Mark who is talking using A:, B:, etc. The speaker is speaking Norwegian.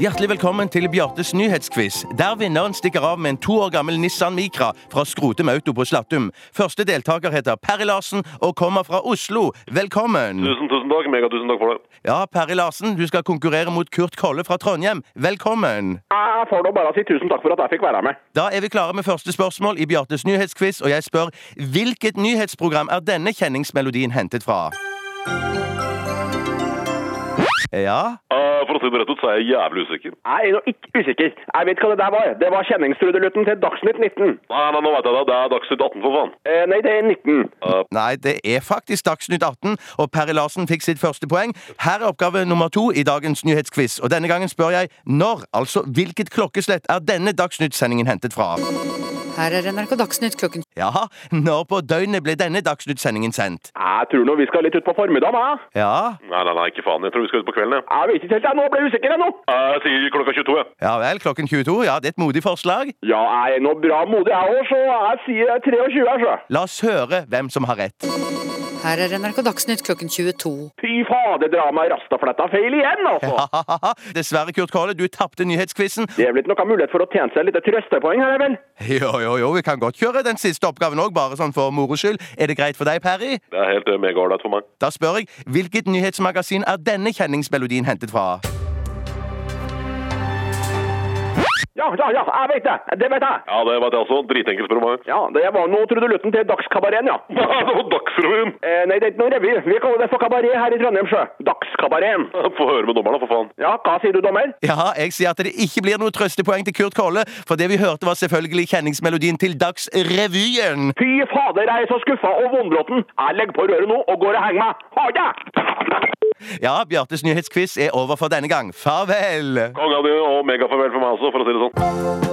A: Hjertelig velkommen til Bjartes nyhetsquiz, der vinneren stikker av med en to år gammel Nissan Micra fra Skrotum Auto på Slattum. Første deltaker heter Perry Larsen og kommer fra Oslo. Velkommen!
B: Tusen, tusen takk. Megatusen takk for det.
A: Ja, Perry Larsen, du skal konkurrere mot Kurt Kolle fra Trondheim. Velkommen!
B: Jeg får nå bare si tusen takk for at jeg fikk være med.
A: Da er vi klare med første spørsmål i Bjartes nyhetsquiz, og jeg spør hvilket nyhetsprogram er denne kjenningsmelodien hentet fra? Ja,
B: Ah, for å si det rett ut, så er jeg jævlig usikker. Jeg er nå ikke usikker. Jeg vet hva det der var. Det var kjenningstrudelutten til Dagsnytt 19. Nei, nei, nå vet jeg det. Det er Dagsnytt 18, for faen. Eh, nei, det er 19.
A: Nei, det er faktisk Dagsnytt 18, og Perry Larsen fikk sitt første poeng. Her er oppgave nummer to i dagens nyhetsquiz, og denne gangen spør jeg når, altså hvilket klokkeslett, er denne Dagsnytt-sendingen hentet fra?
C: Her er NRK Dagsnytt klokken
A: Ja, når på døgnet ble denne Dagsnytt-sendingen sendt?
B: jeg tror nå vi skal litt ut på formiddagen, jeg.
A: Ja,
B: Nei, nei, nei, ikke faen. Jeg tror vi skal ut på kvelden, jeg. Jeg vet ikke helt, jeg. Nå ble jeg usikker, jeg nå. Jeg sier klokka 22, jeg.
A: ja vel, klokken 22, ja, det er et modig forslag.
B: Ja, jeg er nå bra modig, jeg òg, så jeg altså. sier 23, jeg, så.
A: La oss høre hvem som har rett.
C: Her er NRK Dagsnytt klokken 22.
B: Fy fader, dramaet Rastafletta feil igjen, altså.
A: Dessverre, Kurt Kåle, du tapte nyhetsquizen.
B: Det er vel ikke noe mulighet for å tjene seg litt trøstepoeng her, vel?
A: Jo, jo, jo, vi kan godt kjøre den siste oppgaven òg, bare sånn for moro skyld. Er det greit for deg, Perry?
B: Det er helt megaålreit for meg.
A: Da spør jeg, hvilket nyhetsmagasin er denne kjenningsmelodien hentet fra?
B: Ja, ja, ja, jeg vet det. Det vet jeg. Ja, det vet jeg også. Dritenkelt for meg. Ja, det var nå trudelutten til Dagskabareten, ja. det var Dagsrevyen! Eh, nei, det er ikke noen revy. Vi kaller det for kabaret her i Trondheim, sjø. Dagskabareten. Få høre med dommeren, da, for faen. Ja, hva sier du, dommer?
A: Ja, jeg sier at det ikke blir noe trøstepoeng til Kurt Kolle, for det vi hørte var selvfølgelig kjenningsmelodien til Dagsrevyen.
B: Fy fader, jeg er så skuffa og vondbroten. Jeg legger på røret nå og går og henger meg. Ha det!
A: Ja, Bjartes nyhetsquiz er over for denne gang. Farvel!
B: Konga di og megafarvel for meg også, for å si det sånn.